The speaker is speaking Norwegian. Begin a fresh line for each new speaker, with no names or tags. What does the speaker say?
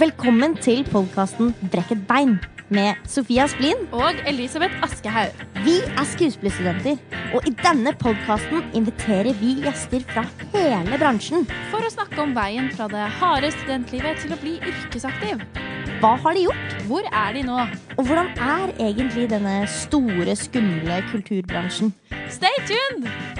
Velkommen til podkasten Brekk et bein med Sofia Splin.
Og Elisabeth Askehaug.
Vi er skuespillerstudenter, og i denne podkasten inviterer vi gjester fra hele bransjen.
For å snakke om veien fra det harde studentlivet til å bli yrkesaktiv.
Hva har de gjort,
Hvor er de nå?
og hvordan er egentlig denne store, skumle kulturbransjen?
Stay tuned!